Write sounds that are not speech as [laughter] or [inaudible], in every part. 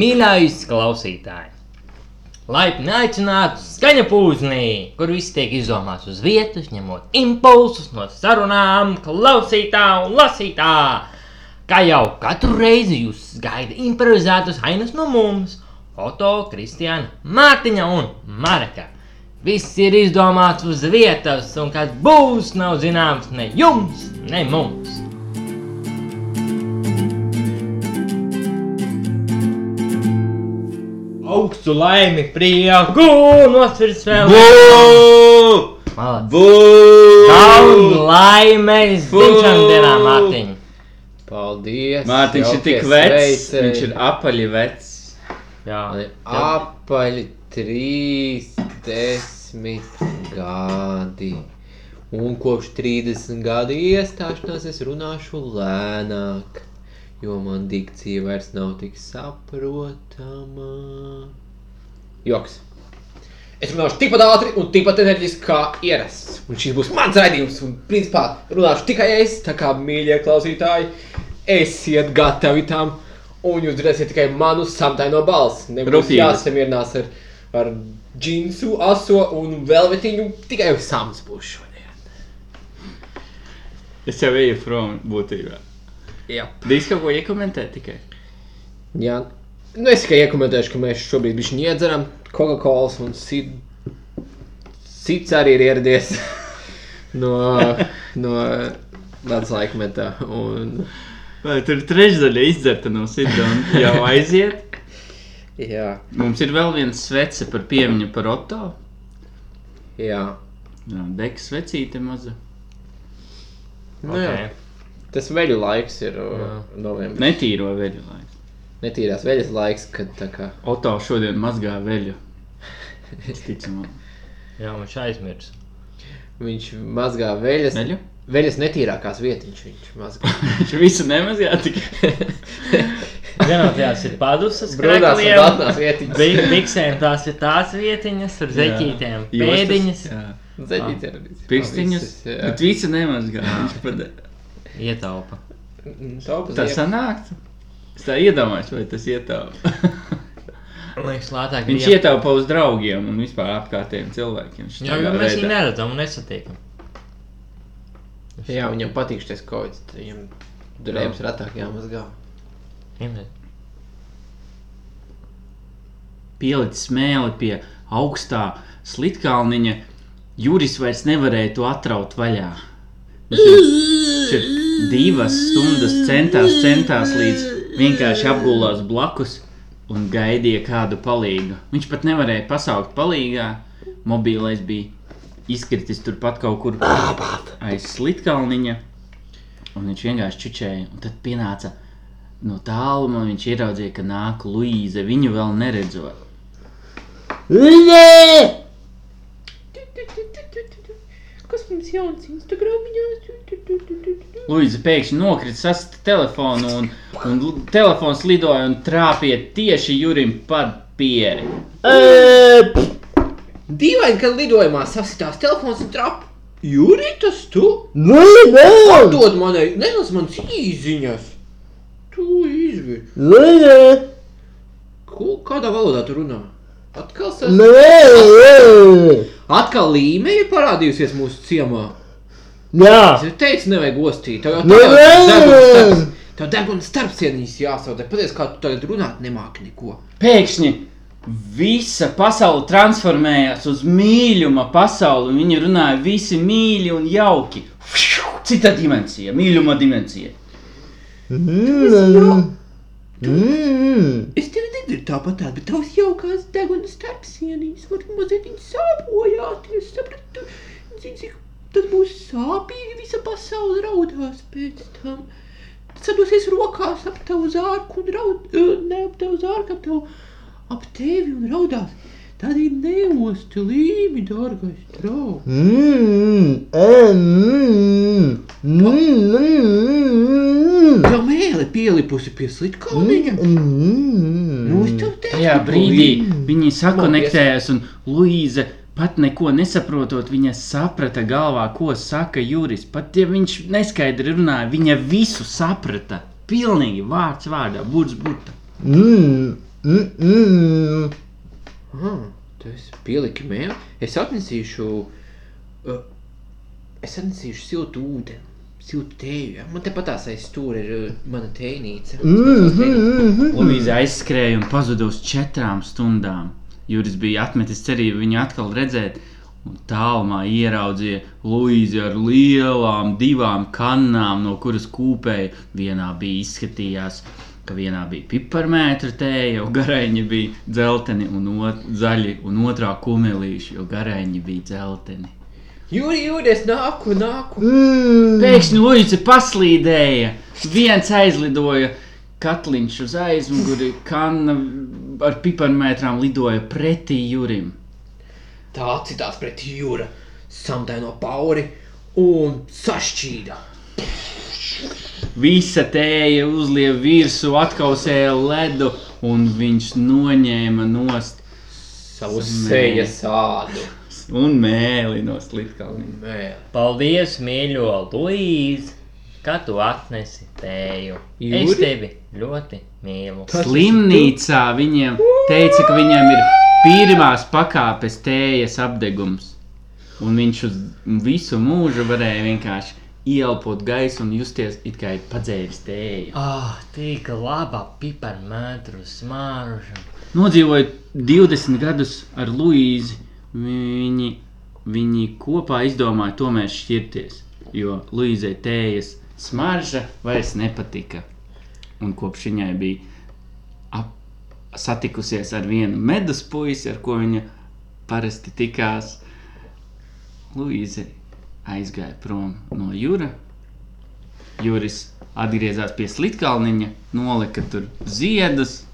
Mīļais klausītāj! Laipni aicināti skaņa pūznī, kur viss tiek izdomāts uz vietas, ņemot impulsus no sarunām, klausītā un lasītā. Kā jau katru reizi jūs gaida improvizētas ainas no mums, Oto, Kristiāna, Mārtiņa un Marka. Viss ir izdomāts uz vietas, un kas būs, nav zināms ne jums, ne mums. augstu laimi, prieku, nosvirs vēl Bū! Malāc. Bū! Daudz laimes Bū! dzimšanas dienā, Mārtiņ. Paldies! Mārtiņš ir jaukie tik vecs, sveicieni. viņš ir apaļi vecs. Jā, Man ir apaļi 30 gadi. Un kopš 30 gadi iestāšanās es runāšu lēnāk, jo man dikcija vairs nav tik saprotama. Joks! Es runāšu tikpat ātri un tikpat enerģiski kā ierasts. Un šis būs mans raidījums, un principā runāšu tikai es. Tā kā mīļie klausītāji, esiet gatavi tam, un jūs dzirdēsiet tikai manu samtaino balsi. Nebūs Rūpīgi. jāsamierinās ar, ar džinsu, aso un velvetiņu. Tikai uz sams būs šodien. Es jau eju prom būtībā. Jā. Drīz kaut ko iekomentēt tikai. Jā. Nu, es tikai iekomentēšu, ka mēs šobrīd bijām iedzeram Coca-Cola un Sid... Sits arī ir ieradies [laughs] no, no Latvijas laikmetā. Un... Vai tur ir trešdaļa izdzerta no sidona [laughs] jau aiziet? Jā, Mums ir vēl viens svece par piemiņu par Oto. jā. Jā, Deks svecīte maza. Nu, okay. jā. Tas veļu laiks ir uh, novembris. Netīro veļu laiku. Netīrās veļas laiks, kad tā kā. Oto šodien mazgā veļu. Ticamāk. jā man šai aizmirs. Viņš mazgā veļas. Veļu? [laughs] Veļas netīrākās vietas viņš mazgā. Viņš visu nemazgā tikai. Vienā tās ir padusas, Brūnās un krākliem, baltās vietas. bi- biksēm tās ir tās vietiņas ar zeķītēm, pēdiņas. Zeķīt ir arī. Pirkstiņas. Visas, jā. eh, Bet visu nemazgā. Viņš pat... Ietaupa. Mm, Taupas Tā iepakojums. sanāktu. Es tā iedomājos, vai tas ietaupa. Man liekas, lētāk [laughs] Viņš bija- ietaupa uz draugiem un vispār apkārtējiem cilvēkiem. Jā, jo mēs viņu neredzam un nesatiekam. Jā, viņam patīk šis kaut kāds. Viņam drēbes ratāk jāmazgā. Iemē. pielicis mēli pie augstā slitkalniņa. Juris vairs nevarēja to atraut vaļā. Viņš ir- viņš ir divas stundas centās, centās līdz vienkārši apgulās blakus un gaidīja kādu palīgu. Viņš pat nevarēja pasaukt palīgā. Mobilais bija izkritis turpat kaut kur aiz slitkalniņa. Un viņš vienkārši čučēja. Un tad pienāca no tāluma. Viņš ieraudzīja, ka nāk Luīze. Viņu vēl neredzot. Kas mums jauns Instagramiņā? Luīze pēkšņi nokrita, sasprāta telefonu, un, un l- telefons lidoja un trāpīja tieši Jurim par pieri. Dīvaini, kad lidojumā sasitās telefons un trap. Jūri, tas tu? Nē, nē! Dod manai, nelas manas īziņas. Tu izvi. Nē, Ko, kādā valodā tu runā? Atkal sas... nē! Atkal līmeņi ir parādījusies mūsu ciemā. Jā! Es jau teicu, nevajag ostīt. Tev jau Nu, tagad nē! deguns starps- Tev deguns starpsienīs jāsaudē. Paties, kā tu tagad runāt nemāk neko. Pēkšņi visa pasaule transformējās uz mīluma pasauli, un viņi runāja visi mīļi un jauki. Cita dimensija, mīluma dimensija. Es tevi nedzirdu tāpat, tā, bet tavs jaukās deguns starpsienīs. Varbūt mazliet viņa sāpojāties, sapratu. Zini, cik tas būs sāpīgi, visa pasaule raudās pēc tam. Sadosies rokās ap tavu zārku un raud, eh, ne ap tavu zārku, ap tavu, ap tevi un raudās. Tad ir neosti līmi, dārgais draugs. Jau mēlē pielipusi pie slitkalniņa. Nu, es tev teicu. Tajā brīdī viņi sakonektējās, un Luīze pat neko nesaprotot, viņa saprata galvā, ko saka Juris. Pat ja viņš neskaidri runāja, viņa visu saprata. Pilnīgi vārds vārdā, burts burta. Mm, mm, Mm-mm. Ah, tu esi pieliki mēlu. Es atnesīšu. Uh, es atnesīšu siltu ūdeni, siltu tēju. Ja? Man tepat aiz stūra ir uh, mana tēnīca. Mhm. Lūdzu, aizskrēja un pazuda uz četrām stundām. Juris bija atmetis cerību viņu atkal redzēt, un tālumā ieraudzīja Lūdzu ar lielām, divām kannām, no kuras kūpēja. Vienā bija izskatījās, ka vienā bija piparmētra tēja, jo garaiņi bija dzelteni un ot, zaļi, un otrā kumelīša, jo garaiņi bija dzelteni. Jūri, jūri, es nāku, nāku. Pēkšņi Lūdzu paslīdēja, viens aizlidoja. Katliņš uz aizmuguri, kanna ar piparmētrām lidoja pretī jūrim. Tā atcitās pret jūra, samdaino pauri un sašķīda. Visa tēja uzlieja virsmu, atkausēja ledu, un viņš noņēma nost Savu Smēli. sejas sādu. un mēlī no slitkalniem. Mēl. Paldies, mīļo Luīzi, ka tu atnesi tēju. Es Jūri? tevi ļoti mīlu. Slimnīcā viņiem teica, ka viņiem ir pirmās pakāpes tējas apdegums, un viņš uz visu mūžu varēja vienkārši ielpot gaisu un justies it kā ir padzēris tēju. Ah, tik laba piparmētru smārža. Nodzīvoja 20 gadus ar Luīzi, viņi, viņi kopā izdomāja tomēr šķirties, jo Luīzai tējas smarža vairs nepatika. Un kopš viņai bija ap, satikusies ar vienu medus puisi, ar ko viņa parasti tikās, Luīze aizgāja prom no jūra. Juris atgriezās pie slitkalniņa, nolika tur ziedus.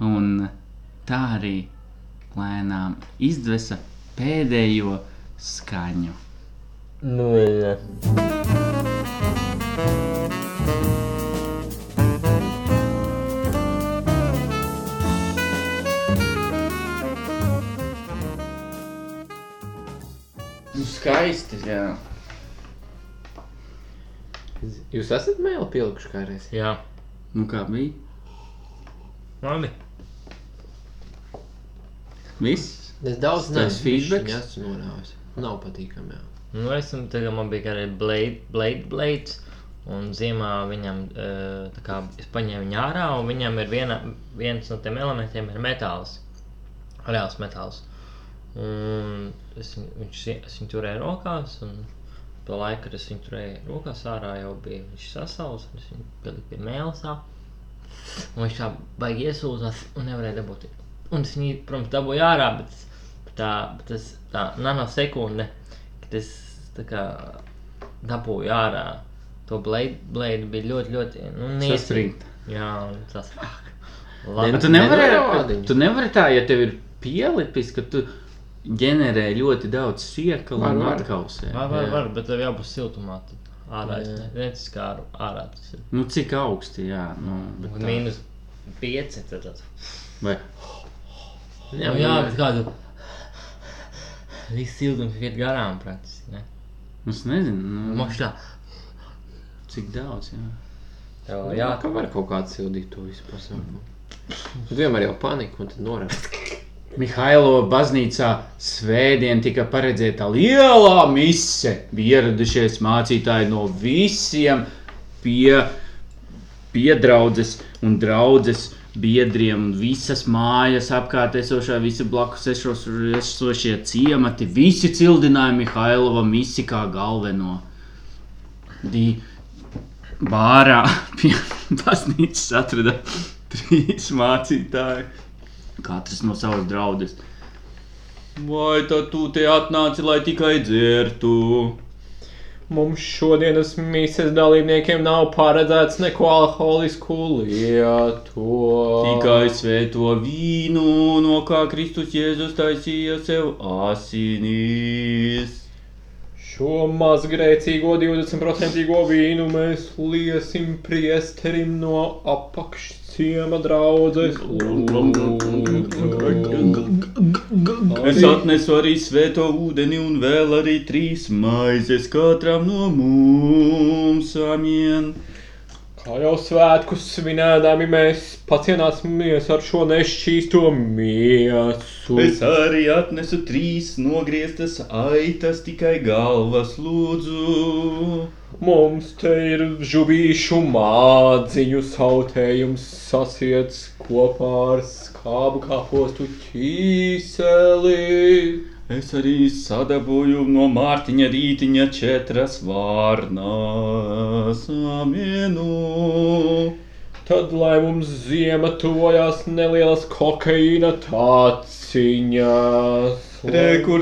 Un tā arī lēnām izdvesa pēdējo skaņu. Nu, jā. Skaisti, jā. Jūs esat mēlu pielikuši kādreiz? jā, Nu kā bija? labi. Viss. Es daudz Tas feedbacks? Esmu norāvis. Nav patīkami. jā. Nu, esam tagad man bija arī blade, blade blades. Un zīmā viņam, eh, tā kā es paņēmu viņu ārā, un viņam ir viena, viens no tiem elementiem ir metāls. Reāls metāls. Un es, viņu- viņš, ie- es viņu turēju rokās, un to laiku, kad es viņu turēju rokās ārā, jau bija viņš sasaucis, un es viņu pieliku pie mēlsā. Un viņš tā baigi iesūdzās un nevarēja dabūt. Un es viņu, protams, dabūju ārā, bet tā, bet tas, tā nanosekunde, kad es tā kā dabūju ārā, to blēdu bija ļoti, ļoti, nu, niecīgi. Saspringta. Jā, un tas. Bet nu, tu Labi. nevari, Nenorādiņ. tu nevari tā, ja tev ir pielipis, ka tu ģenerē ļoti daudz siekla Var, un var. atkausē. Var, var, Jā. var, bet tev jābūt siltumā. Tad. Ārā es Jā. ne- neatskāru, ārā tas ir. Nu, cik augsti, jā. Nu, bet tā. Mīnus 5. Tad, tad. Vai Jā, jā, bet kādu. Viss siltums iet garām, praktiski. ne? Nu, Es nezinu, nu, Mošā. cik daudz. Jā. Tev Jā, jā, kā var kaut kāds sildīt to visu pasākumu. Tad vienmēr jau panika, un tad norāda. Mihailo baznīcā svētdien tika paredzēta lielā mise. Bija ieradušies mācītāji no visiem pie, piedraudzes un draudzes biedriem un visas mājas apkārt esošā, visi blakus esos- esošie ciemati. Visi cildināja Mihailova misi kā galveno. Di bārā [laughs] pie baznīcas atrada trīs mācītāji katrs no savas draudzes. Vai tad tu te atnāci, lai tikai dzertu? Mums šodienas mīsas dalībniekiem nav paredzēts neko alkoholisku lietu. Tikai svēto vīnu, no kā Kristus Jēzus taisīja sev asinīs. Šo mazgrēcīgo 20% vīnu mēs liesim priesterim no apakšciema draudzes. Lūdzu. Es atnesu arī svēto ūdeni un vēl arī trīs maizes katram no mums. Amien! Kā jau svētkus svinēdami mēs pacienāsimies ar šo nešķīsto miesu. Es arī atnesu trīs nogrieztas aitas, tikai galvas lūdzu. Mums te ir žuvīšu mādziņu sautējums sasiets kopā ar skābu kāpostu ķīseli. Es arī sadabūju no Mārtiņa rītiņa četras vārnas amienu. Tad, lai mums ziema tuvojās nelielas kokaīna tāciņas. Lai- Rekur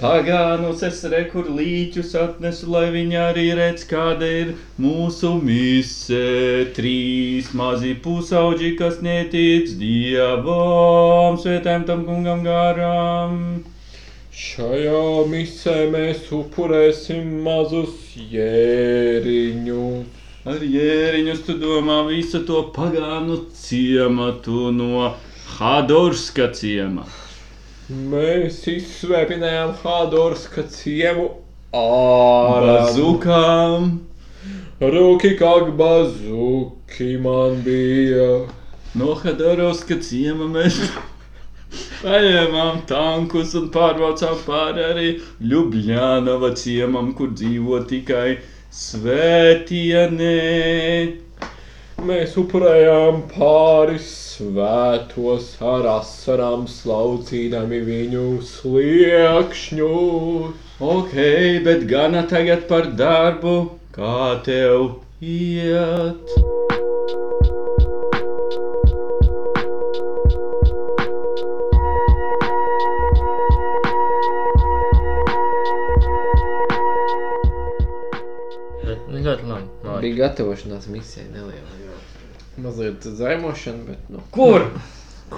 pagānus es rekur līķus atnesu, lai viņi arī redz, kāda ir mūsu mise. Trīs mazi pusauģi, kas netic dievam, svētēm tam kungam garām. Šajā misē mēs upurēsim mazus jēriņus. Ar jēriņus tu domā visu to pagānu ciematu no Hadorska ciemata. Mēs izsvēpinājām Hādorska ciemu ārā. Bazukām! Rūki kā bazuki man bija. No Hadorovska ciema [laughs] mēs paņēmām tankus un pārvācām pāri arī Ljubljānava ciemam, kur dzīvo tikai svētienē. Mēs upurējām pāris svētos ar asarām slaucīdami viņu sliekšņus. Ok, bet gana tagad par darbu, kā tev iet. Nu, ļoti labi. labi. Bija gatavošanās misijai neliela. Mazliet zaimošana, bet nu. Kur?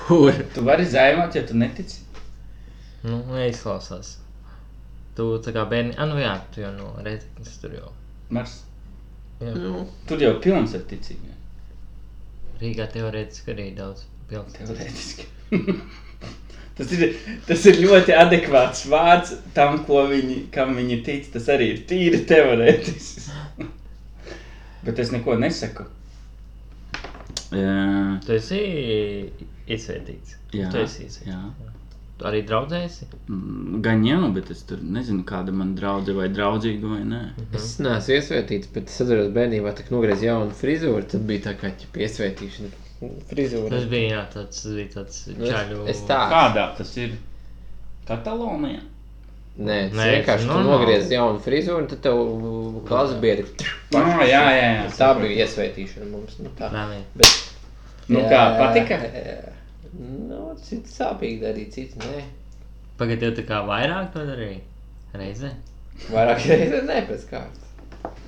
Kur? Tu vari zaimot, ja tu netici. Nu, neizklausās. Tu tā kā bērni, ah, nu jā, tu jau no redzes tur jau. Mars. Jā. Nu. Tur jau pilns ar ticību. Rīgā teorētiski arī daudz pilsētu. Teorētiski. [laughs] Tas ir, tas ir ļoti adekvāts vārds tam, ko viņi, kam viņi tic. Tas arī ir tīri teorētisks. [laughs] Bet es neko nesaku. Jā, Tu esi izsvērtīts. Jā, Tu esi izsvērtīts. jā. Tu arī draudzējies? Mm, Gan jau, bet es tur nezinu, kāda man draudzene vai draudzīga vai nē. Es neesmu iesvētīts, bet es atceros, bērnībā tā kā nogriezu jaunu frizūru, tad bija tā kā piesvētīšana. Frizūra. Tas bija jā, tāds, tas bija tāds Nu, es- čaļu. Es tā. Kādā tas ir? Katalonijā. Nē, Nē, es nu, vienkārši normāli. nogriezu jaunu frizūru, un tad tev klases biedri. Jā, jā, jā. jā. Tā bija iesvētīšana mums. Nu, tā. Nē, nē. Nu, kā patika? Nu, cits sāpīgi darīja, cits nē. Pagaidiet, jau tā kā vairāk to darīja. Reizē. Vairāk reizes nē, pēc kārtas.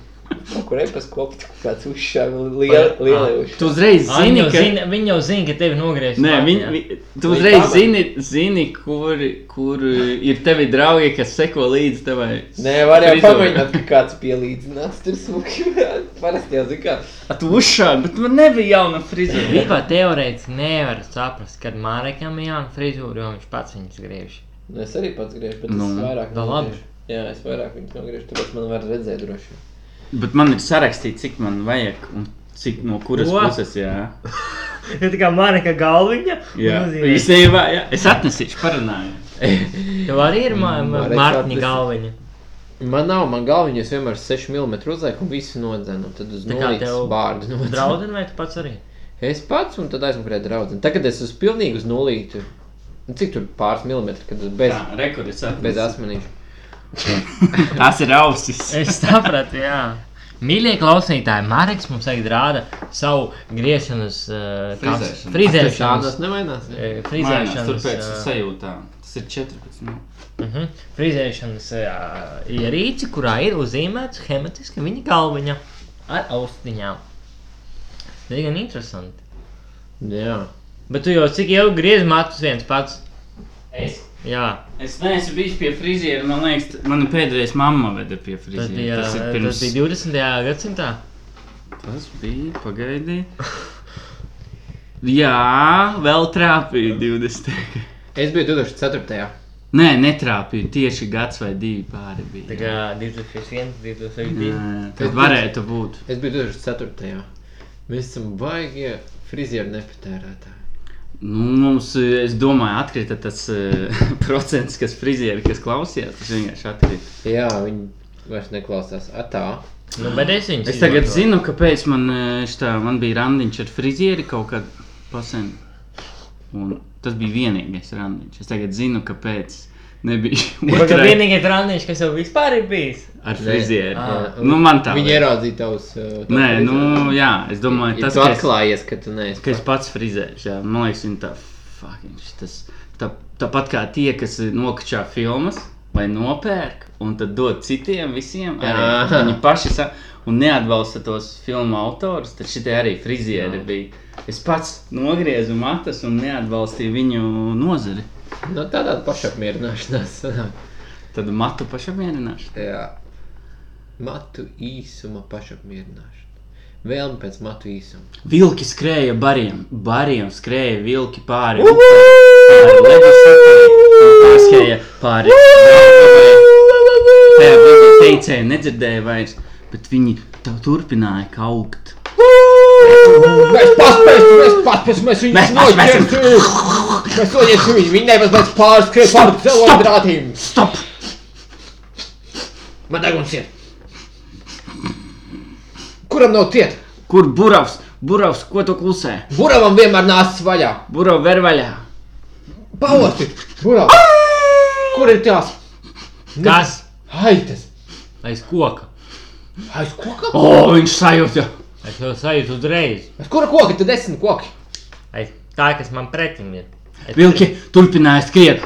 Kurai pēc kopu kāds nu, uzšāva lielai Ah, Tu uzšāva? uzreiz Zini, zini, jau ka zina, viņi jau zina, ka tevi nogriezīs. Nē, viņi, vi, tu uzreiz zini, zini kur, kur uh, ir tevi draugi, kas seko līdzi tevai. Nē, var jau frizūrai. pamēģināt, ka kāds pielīdzinās tur smuki. [laughs] Parasti jau zina, kā. A, Tu uzšāvi, bet man nebija jauna frizūra. Vispār teorētiski nevar saprast, kad Mārekam ir jauna frizūra, jo viņš pats viņas griež. Nu, es arī pats griežu, bet nu, Nu, es vairāk nu labi. nogriežu. Jā, es vairāk viņu nogriežu, tāpēc man var redzēt droši. vien. [laughs] Bet man ir sarakstīts, cik man vajag un cik no kuras Ko? puses. Jā, Ir tā kā Māreka galviņa. jā. Īstenībā, jā. es atnesīšu, parunāju. Tev arī ir ma- ma- Mareka Mārtiņa tas- galviņa. Man nav, man galviņa es vienmēr 6 mm uzlieku un visu nodzenu. un Tad uz Tā kā tev nulles bārdu nodzenu. Draudzen vai tu pats arī? Es pats un tad aizmukrēju draudzeni. Tagad es uz pilnīgi uz nulīti. Nu, Cik tur pāris milimetri, kad es bez, Tā, rekords. bez [laughs] asmenīšu. Tās ir ausis. Es sapratu, jā. Mīļie klausītāji, Marks mums tagad rāda savu griešanas, uh, kā- Frizēšanu. frizēšanas, nevainās. ne? eh, Mainās frizēšanas, turpēc eh, sajūtām. Tas ir 14. mhm, frizēšanas eh, ierīci, kurā ir uzzīmēts hematiski viņa galviņa ar austiņām. Diezgan interesanti. Jā. Bet tu jau cik ilgi griez matus viens pats? Es, Jā, es neesmu bijis pie friziera. Man liekas, t- mana pēdējais mamma veda pie tas friziera. bija, tas ir tas pirms. bija 20. gadsimtā. Tas bija pagaidi. Jā, vēl trāpīja 20. Es biju 2004. Nē, netrāpīja tieši gads vai divi pāri. Bija. Eh, Tā kā 2001, 2002. Tad varētu būt. Es biju 2004. Mēs esam baigie frizieru nepatērētāji. Nu, mums, eh, es domāju, atkrita tas eh, [laughs] procents, kas frizieri, kas klausījās. Tas vienkārši atkrita. Jā, viņi vairs neklausās. Atā. Nu, bet es viņu Es tagad zinu, kāpēc man, eh, šitā, man bija randiņš ar frizieri kaut kad pasen. Un tas bija vienīgais randiņš. Es tagad zinu, kāpēc nebija [laughs] Tas ir otrai vienīgais randiņš, kas jau vispār ir bijis. ar frizieri. Ā. Nu, man tā. Viņi liekas. ieraudzīja tavus. uh, tavu Nē, frizeru. nu, jā, es domāju, Ja tas tu kas- atklājies, ka tu neesi. ka es pats frizēšu. Jā. Man liekas, viņa tā fucking tas. tā- Tāpat kā tie, kas nokačā filmas vai nopērk, un tad dod citiem visiem, arī Jā. viņi paši sa un neatbalsta tos filmu autorus, tad šitie arī frizieri bija. Es pats nogriezu matus un neatbalstīju viņu nozari. Nu, tā tāda pašapmierināšanās. sanāk. Tad matu pašapmierināšu. [laughs] Jā. Matu īsuma pašapmierināšana. Vēlme pēc matu īsuma. Vilki skrēja bariem, bariem skrēja vilki pāri. Ar ledu sakrēja, un pārskrēja pāri. Tajā brīdī teicēju nedzirdēju vairs, bet viņi tā turpināja kaukt. Mēs paspēsim, mēs paspēsim, mēs viņus Mēs paspēsim! Mēs to iesim viņu, viņi nevis mēs pārskriet pār cilvēku drātīm. Stop! Man deguns ir. Kuram nav ciet? Kur buravs? Buravs, ko tu klusē? Buravam vienmēr nāsts vaļā. Burav ver vaļā! Pausti! Burav! Kur ir tās? Kas? Haitas! Aiz koka. Aiz koka? O, viņš sajūta! Es jau sajūtu uzreiz. Aiz kura koka? Tad desmit koki. Aiz tā, kas man pretim ir. Es- Vilki turpināja skriet.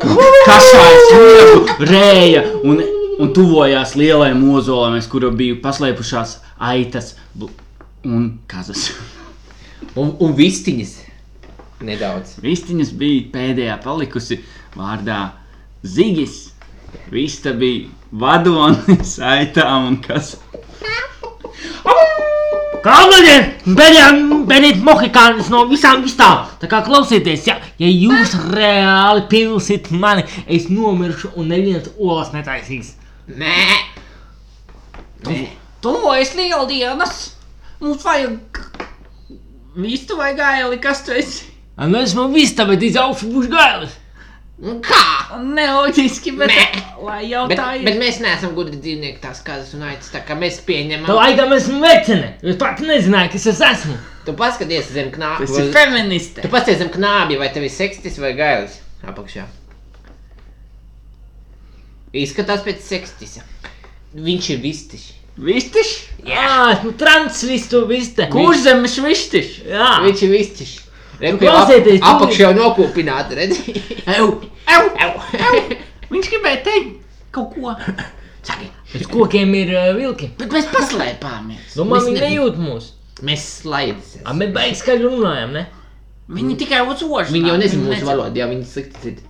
Kasāja sliedu rēja un, un tuvojās lielai mozolam, aiz kura bija paslēpušās aitas bl- un kazas. Un, un vistiņas. Nedaudz. Vistiņas bija pēdējā palikusi vārdā Zigis. Vista bija [laughs] vadonis, aitām un kas. Kalniņi! Benīt Mohikānis no visām vistām! Tā kā klausieties, ja, ja jūs reāli pilsit mani, es nomiršu un neviens olas netaisīs. Tuvojas lieldienas! Mums vajag vistu vai gaili, kas tu esi? Ai, Nu esmu vista, bet izaugšu būšu gailis. Neloģiski, bet lai jau Bet, tā ir. bet mēs neesam gudri dzīvnieki, tās kādas un aitas, tā kā mēs pieņemam. Tā laikam esmu vecene, jo es pat nezināju, kas es esmu. Tu paskaties zem knābi. Tas ir feministē. Tu paskaties zem knābi, vai tev ir sekstis vai gailis apakšā. Izskatās pēc sekstisa. Viņš ir vistiņš. Vistiš? Jā, esmu transvistu vista. Kurzemes vistiš? Jā, Viņš ir vistiņš. Ah. Tu klausieties, tu- Apakšā jau nokopināta, redzi? Ew, ew, Au! viņš gribēja teikt kaut ko, uz kokiem ir uh, vilki. bet mēs paslēpāmies. Nu man Mēs viņi ne- nejūt mūs. Mēs A, slaidamies. mēs baigi skaļi runājam, ne? Viņi tikai uzvož. Viņi jau nezina mūsu valodu, jā, viņi slikti dzird.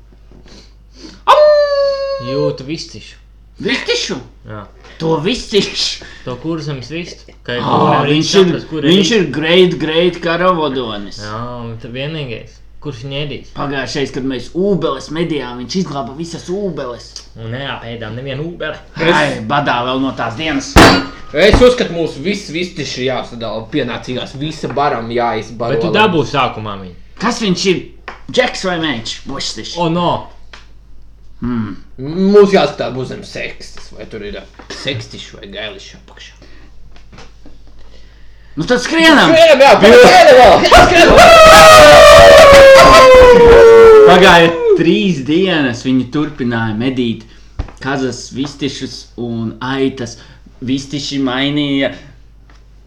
Jūtu vistišu. Vistišu? Jā. To vistišu. To kursam es vistu. Kā Ā, Ah, viņš ir, viņš ir great, great karavodonis. Jā, un tas vienīgais, kurš ņēdīs. Pagājušais, kad mēs ubeles medījām, viņš izglāba visas ubeles. Un neapēdām nevienu ubeli. Ai, badā vēl no tās dienas. Es uzskatu, mūsu viss vistiņš ir jāsadala pienācīgās. Visa baram jāizbaro. Bet tu dabūsi sākumā viņu. Kas viņš ir? Džeks vai mēģis? Vistišu. O, no! Mm. Mums jāskatās, būs zem sekstis, vai tur ir sekstišs vai gailišs apakšā. Nu tad skrienam! Vienam jāpārāk! Pagāja trīs dienas, viņi turpināja medīt kazas, vistišus un aitas. Vistiši mainīja,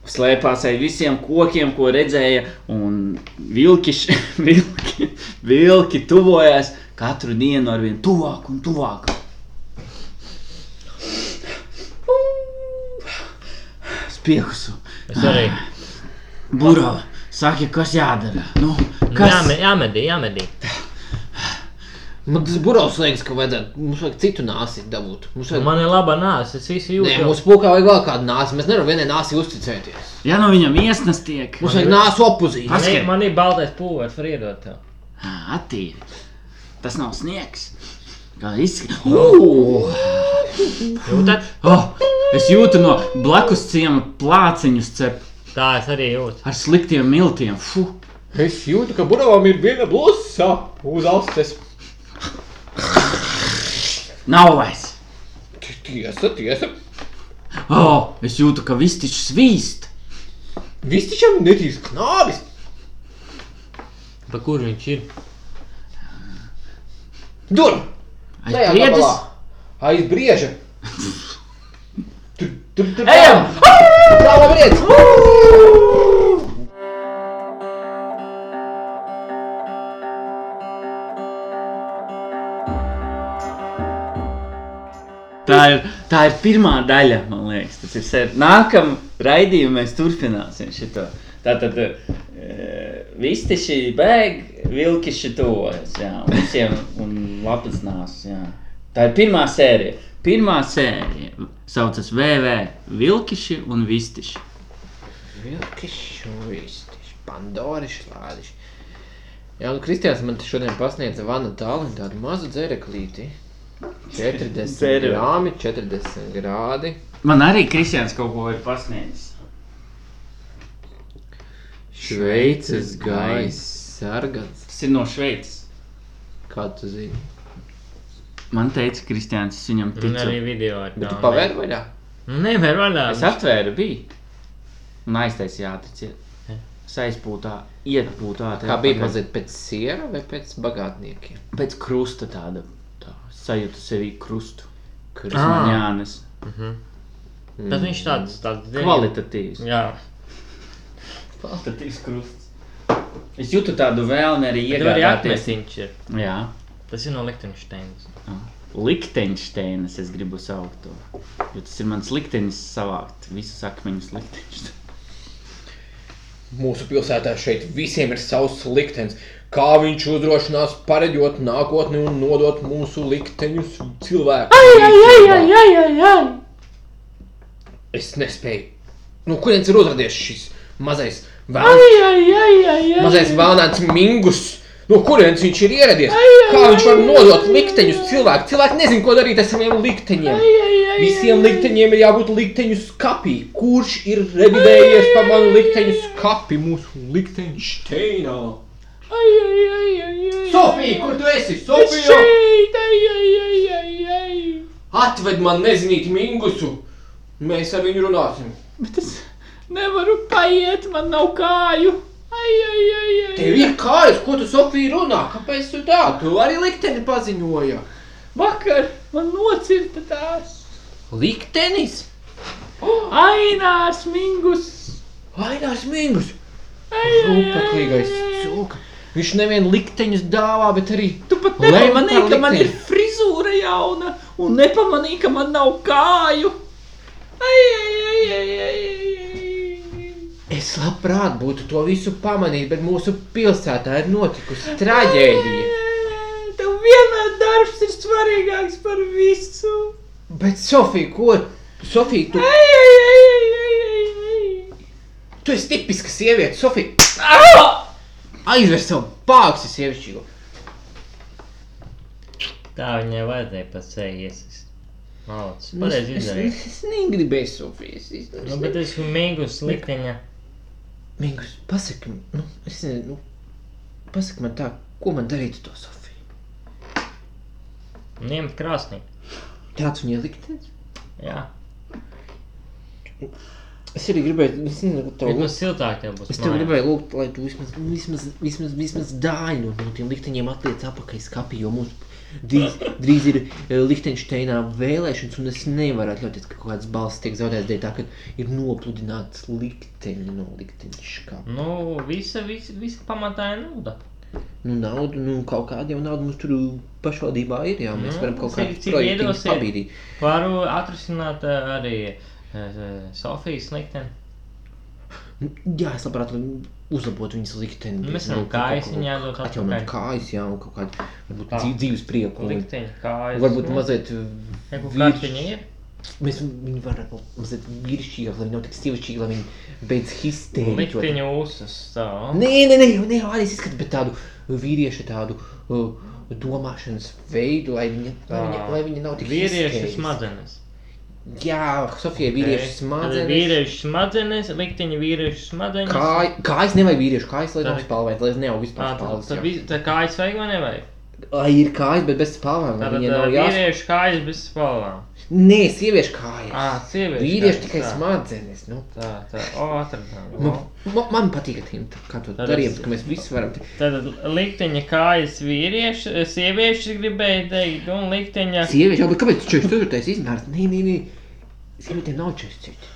slēpās aiz visiem kokiem, ko redzēja, un vilkiši, [laughs] vilki, vilki tuvojās katru dienu ar vien tuvāk un tuvāk. Spiegusu, Es arī. burbuļs, saki, kas jādara. Nu, Kas? kas? Jāme, jāmedī, jāmedī. Man tas burbuļs liekas, ka vajadzētu, mums vajag citu nāsi dabūt. Mums vajag... Man ir laba nāse, es visu jūtu. Nē, mums pūkā vajag vēl kādu nāsi. Mēs nevaram vienai nāsi uzticēties. Ja no viņam iesnas tiek, Mums vajag nāsu opozīciju. Pas- man, ir, paskat. man ir baltais pūlis, var iedot tev. Ā, Attīri. Tas nav sniegs. Kā izskatās? Jūtat? Oh, es jūtu no blakus ciemata plāciņu cepu. Tā es arī jūtu. Ar sliktiem miltiem. Fu. Es jūtu, ka burbuļam ir viena blūza uz ausis. Nav vairs. Tiesa, tiesa. Oh, es jūtu, ka viss taču svīst. Viss tiešām netīs knābis. Pa kur viņš ir? Dur! Aiz Tajā priedes. gabalā. Aiz brieža! Tur, tur, tur! Ejam! Tālāk brieža! Tā ir, tā ir pirmā daļa, man liekas. Tas ir ser... Nākamā raidījumā mēs turpināsim šo. Tātad e, eh, visi šī bēg, vilki šī tojas, jā, un visiem un lapas nāsas, jā. Tā ir pirmā sērija. Pirmā sērija saucas VV Vilkiši un Vistiši. Vilki šūvistiši, pandori šlādiši. Jā, nu Kristians man te šodien pasniedza vana tālin tādu mazu dzēreklīti. 40 Dzere. grāmi, 40 grādi. Man arī Kristians Viens kaut ko ir pasniedzis. Šveices gaiss sargans. Tas ir no Šveices. Kā tu zini? man teica, Kristians, es viņam Un arī ticu. video ar Nu, Bet tu pavēr vaļā? Nevar vaļā. Es atvēru bīti un aiztaisīju ātriciet. Saizpūtā, iepūtā. Kā bija mazliet pēc siera vai pēc bagātniekiem? Pēc krusta tāda. Tā, sajūtu sevi krustu. Kur Ah. Man jānes. Tad viņš tāds, tāds Kvalitatīvs. Jā. Kvalitatīvs krusts. Es jūtu tādu vēlmi arī Bet arī iegādāties. atmetiņš ir. Jā, Tas ir no Lichtensteins. Likteņšteinas es gribu saukt to. Jo tas ir mans liktenis savākt visus akmeņus likteņus. Mūsu pilsētā šeit visiem ir savs liktenis. Kā viņš uzdrošinās pareģot nākotni un nodot mūsu likteņus cilvēkiem? ai, ai, ai. Es nespēju. Nu, kurienes ir uzrādījies šis mazais vēlams, Ai, ai, ai, ai, ai. mazais vēlams mingus? No kurienes viņš ir ieradies? Kā viņš var nodot likteņus cilvēkiem? Cilvēki nezin, ko darīt ar saviem likteņiem. Visiem likteņiem ir jābūt likteņu skapī. Kurš ir revidējies pa manu likteņu skapi mūsu likteņšteinā? Ai, ai, ai, ai, ai. Sofija, kur tu esi? Es Sofija! šeit, ai, ai, ai, ai, ai. Atved man nezinīt mingusu! Mēs ar viņu runāsim. Bet es nevaru paiet, man nav kāju. Ai, ai, ai, ai. Tev ir kājas, ko tu Sofija runā? Kāpēc tu tā? Tu arī likteni paziņoja. Vakar man nocirta tās. Liktenis? [gasps] Ainās mingus. Vainās mingus! Rūpeklīgais cūka. Viņš nevien likteņus dāvā, bet arī Tu pat Lem par nepamanīji, ka man ir likteni. frizūra jauna, un nepamanīji, ka man nav kāju. Ai, ai, ai, ai, ai, ai, ai. Es labprāt būtu to visu pamanījis, bet mūsu pilsētā ir notikusi traģēdija. Tev vienmēr darbs ir svarīgāks par visu. Bet, Sofija, ko? Sofija, tu, Ai, ai, ai, ai, ai, ai, ai. tu esi tipiska sieviete, Sofija. Aizver savu pāksi sievišķīgo. Tā viņai vajadzēja pa seju iesis. Malts. Nu, Pareizi es, izdarīja. es, es negribēju, Sofija. Es, es, es Nu, bet es mīgus likteņa. Mingus, pasaki, nu, es nezinu, nu, pasaki man tā, ko man darīt ar to Sofiju? Ņemt krāsnī. Tāds viņai liktenis? Jā. Es arī gribēju, es nezinu, to Bet nu siltāk tev būs. Es tev mājās. gribēju lūgt, lai tu vismaz, nu, vismaz, vismaz, vismaz dāļu no tiem likteņiem atliec apakaļ skapī, jo mums drīz, drīz ir eh, Lihtenšteinā vēlēšanas, un es nevaru atļauties, ka kaut kāds balss tiek zaudēts dēļ tā, ka ir nopludināts likteņi no likteņškapa. Nu, visa, visa, visa pamatā ir nauda. Nu, naudu, nu, kaut kāda jau nauda mums tur pašvaldībā ir, jā, mēs Mm, varam kaut cik- kādu cik projektu iedos ir? pabīdīt. Varu atrisināt ā, arī ā, Sofijas likteni. Nu, Jā, es labprāt lai uzlabotu viņas likteni. bet, Mēs nu, varam kaut kājas ko- viņai dot Atjaunot atpakaļ. kājas, jā, un kaut kādu, varbūt Tā. dzīv- dzīves prieku. un Likteņa kājas. Varbūt mazliet Jeigu vīrišķi- kāds viņa ir. Mēs viņu varam mazliet vīrišķīgāk, lai viņa nav tik stīvišķīga, lai viņa beidz histēriķot. Likteņa ūsas. Tā. Nē, nē, nē, jau ne, Alis izskata, bet tādu vīriešu tādu uh, domāšanas veidu, lai viņa, lai viņa, Tā. lai viņa nav tik Vīriešu histēriska. smadzenes. Jā, Sofija, vīriešu smadzenes. Vīriešu smadzenes, likteņa vīriešu smadzenes. Kā, kājas nevajag vīriešu kājas, lai nav Tā- spalvētas, lai Tā, neaug vispār tā, spalvētas. tā, jā. vi- tā kā es vajag, man nevajag. Lai ir kājas, bet bez spalvām. lai Tātad Viņai tā, nav jāspēlē. vīriešu kājas bez spalvām. Nē, sieviešu kājas. Ā, sieviešu Vīrieši kājas, tikai Nu. tā. smadzenes. Nu. Tā, tā, o, atradām. Nu. Man, man- man patīk, ka tā kā tu Tad darījām, es- ka mēs visi varam. te- Tātad likteņa kājas vīrieši, sievieši gribēja teikt, un likteņa. Sieviešu, jā, bet kāpēc 44. izmērs? Nē, nē, nē. Sievietēm nav 44.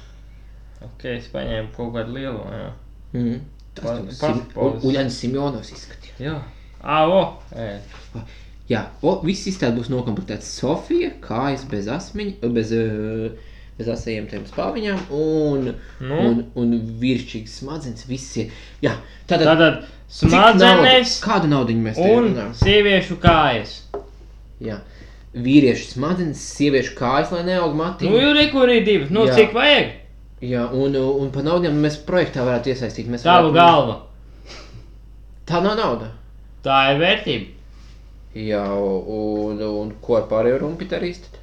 Ok, es paņēmu kaut kādu lielo, jā. Mm. Pa- Tas tev pa- Sim- pa- U- Uljans Simjonovs izskatījās. Jā. Ā, o, ē, Jā, o, viss izstāde būs nokomplektēts Sofija, kājas bez asmiņa, bez, ē, bez asajiem tiem spāviņām un, Nu? un, un vīrišķīgas smadzenes. Visi. Jā, tātad. Tātad cik smadzenes naudu- Kādu naudu mēs te un runājam? sieviešu kājas. Jā. Vīriešu smadzenes, sieviešu kājas, lai neaug matī. Nu, jau rekur ir divas, nu Jā. cik vajag? Jā, un, un par naudu mēs projektā varētu iesaistīt. Mēs Tavu varētu- galva. Tā nav nauda. Tā ir vērtība. Jā, un, un ko ar pārējo rumpi darīs? [laughs] tad?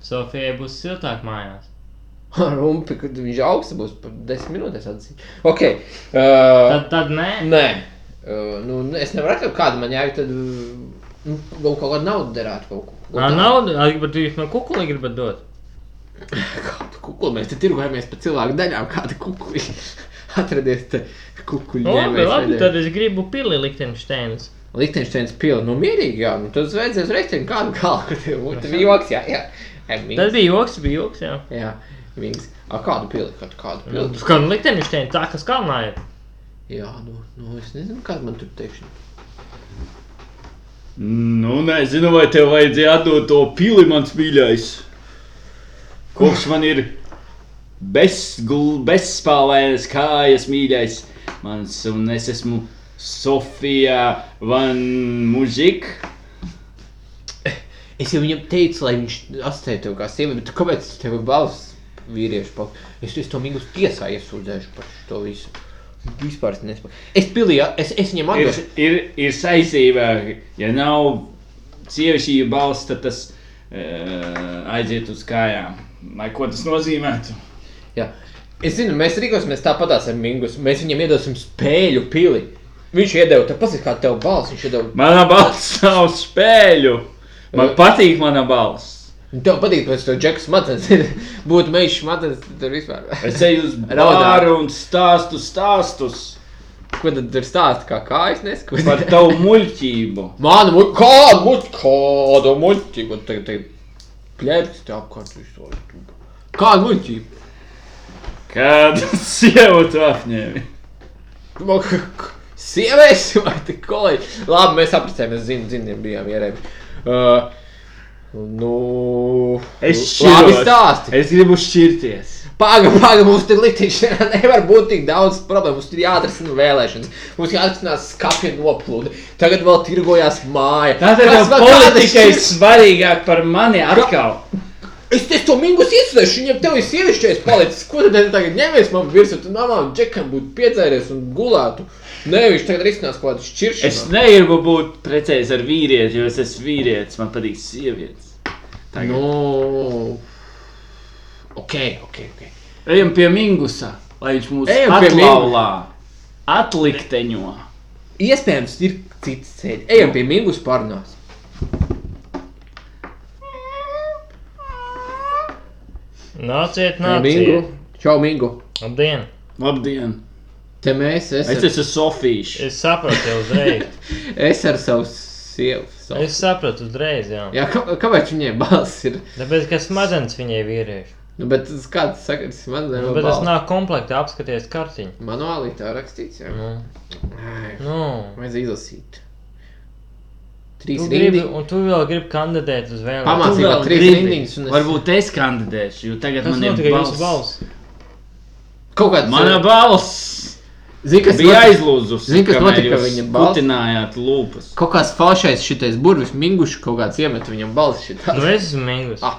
Sofijai būs siltāk mājās. Ha, Rumpi, kad viņš augsts būs par desmit minūtēs atzīt. Ok. Uh, Tad, tad nē. nē. Uh, nu, ne- es nevaru atrast kādu man jāiet, tad uh, nu, kaut kāda nauda derētu kaut ko. Kaut Tā kādu- nauda, arī pat jūs man kukuli gribat dot. [laughs] Kādu kukli mēs te tirgojamies par cilvēku daļām, kādu kukli [laughs] atradies te kukuļu. Nu, labi, ņēmējs labi, vai ne? tad es gribu pili Lichtensteins. Liechtensteins pilna, nu mierīgi, jā, nu tad zveidzies reizēm kādu galvu, [laughs] kad tev būtu joks, jā, jā. Ai, mīgs. Tas bija joks, bija joks, jā. Jā, mīgs. A, kādu pili, kādu, kādu Nu, pili? Kā nu Lichtensteins, tā kas kalnā ir. Jā, nu, nu es nezinu, kādu man tur teikšanu. Nu, nezinu, vai tev vajadzēja atdot to pili, mans mīļais. Kurš man ir bezgul- bezspēlējas kājas mīļais? Mans, un es esmu Sofija Van Muzik. Es jau viņam teicu, lai viņš atstāja tev kā sievi, bet kāpēc tev ir balss vīriešu pal? Es, es to mīgus tiesā iesūdzēšu par to visu. Vispār es nespēju. Es pilī, es, es viņam Ir, atdošu. ir, ir saistība, ja nav sievišķīga balss, tad tas uh, aiziet uz kājām. Lai ko tas nozīmētu? Jā. Es zinu, mēs rīkosimies tāpatās ar Mingus. Mēs viņam iedosim spēļu pili. Viņš iedeva, tev pasaka, kā tev balss, viņš iedeva Mana balss nav spēļu. Man patīk mana balss. Tev patīk, pēc tam džekas smadzenes, [laughs] būtu mežs smadzenes, tad tur vispār. Es eju uz Raudā. bāru un stāstu [laughs] stāstus Ko tad tur stāst, kā kājas neskatās? par tavu muļķību. Manu muļķi, kādu muļķi, kādu muļķi, ko tagad te plēpjas te apkārt visur. Kādu muļķi? Kādu [laughs] sievu tu apņēmi? Man k- k- [laughs] Sievietes vai te kolēģi? Labi, mēs apprecējamies, zinu, zinām, bijām ierēbi. Uh, nu, Es labi šķiros. stāsti. Es gribu šķirties. Pagaidā, pagaidā, mums tur likteņā [laughs] nevar būt tik daudz problēmu. Mums ir jāatrisina vēlēšanas, mums jāatrisina skāpja noplūde. Tagad vēl tirgojās māja. Tātad jau Kas vēl- politika ir kādas šis- svarīgāk par mani atkal. Es te to mingus iesaistīšu, viņam tev ir sievišķais palicis. Ko tad tu tagad ņemies man virsū? Tu namā un džekam būtu piedzēries un gulētu. Nē, viņš tagad risinās kaut kādu šķiršanu. Es negribu būt precējies ar vīrieti, jo es esmu vīrietis. Man patīk sievietes. Tagad. Nu, ok, ok, ok. Ejam pie Mingusa, lai viņš mūs Ejam pie atlaulā, atlikteņo. Iespējams, ir cits ceļš. Ejam pie mingus pārnās. Nāciet, Mingu. nāciet. Čau, Mingu. Labdien. Labdien! Te mēs Es [laughs] esam. esmu Sofijs. Es sapratu jau uzreiz. Es ar savu sievu. Savu. Es sapratu uzreiz, jā. Jā, kā, kāpēc viņai balss ir? Tāpēc, ka smadzenes viņai vīrieši. Nu, bet tas kāds sakars man Nu, nav. Bet tas nav komplektā apskaties kartiņu. Manuāli tā rakstīts, jā. Nu, Ai, nu. Vajadz izlasīt. Tu Trīs gribi, rindiņas. un tu vēl gribi kandidēt uz vēlēšanām. Pamācība vēl trīs gribi. rindiņas un es... Varbūt es kandidēšu, jo tagad Kas man ir notika ar jūsu balss. balss? kaut kāds... eh, Mana balss! Zini, kas kas bija notika? aizlūzusi. Zini, kas kamēr notika jūs viņa balss? Putinājāt lūpas. Kaut kāds falšais šitais burvis minguši kaut kāds iemet viņam balsi šitā. [laughs] Nu, es esmu mīlus. Ah.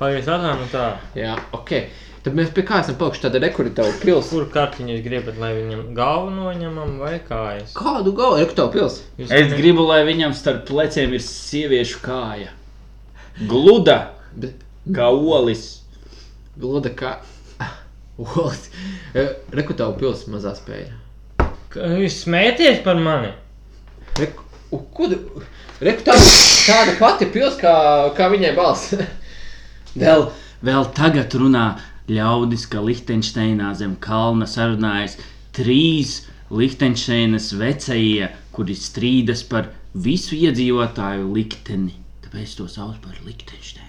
Pagaidiet, atnāmu tā. Jā, ok. Tad mēs pie kā esam e, palikuši tāda rekuri tavu pils. Kur kartiņu jūs gribat, lai viņam galvu noņemam vai kājas? Kādu E, galvu? Reku tavu pils. Jūs Es ne- gribu, lai viņam starp pleciem ir sieviešu kāja. Gluda Bet- kā olis. Gluda kā. [laughs] E, Olis. Reku tev pils mazā spēja. Ka Jūs smēties par mani? Reku, u, ko tu... Reku tāda, tāda pati pils kā, kā viņai balss. Vēl, vēl tagad runā ļaudis, ka Lihtenšteinā zem kalna sarunājas trīs Lihtenšteinas vecie, kuri strīdas par visu iedzīvotāju likteni. Tāpēc to sauc par Lihtenšteinu.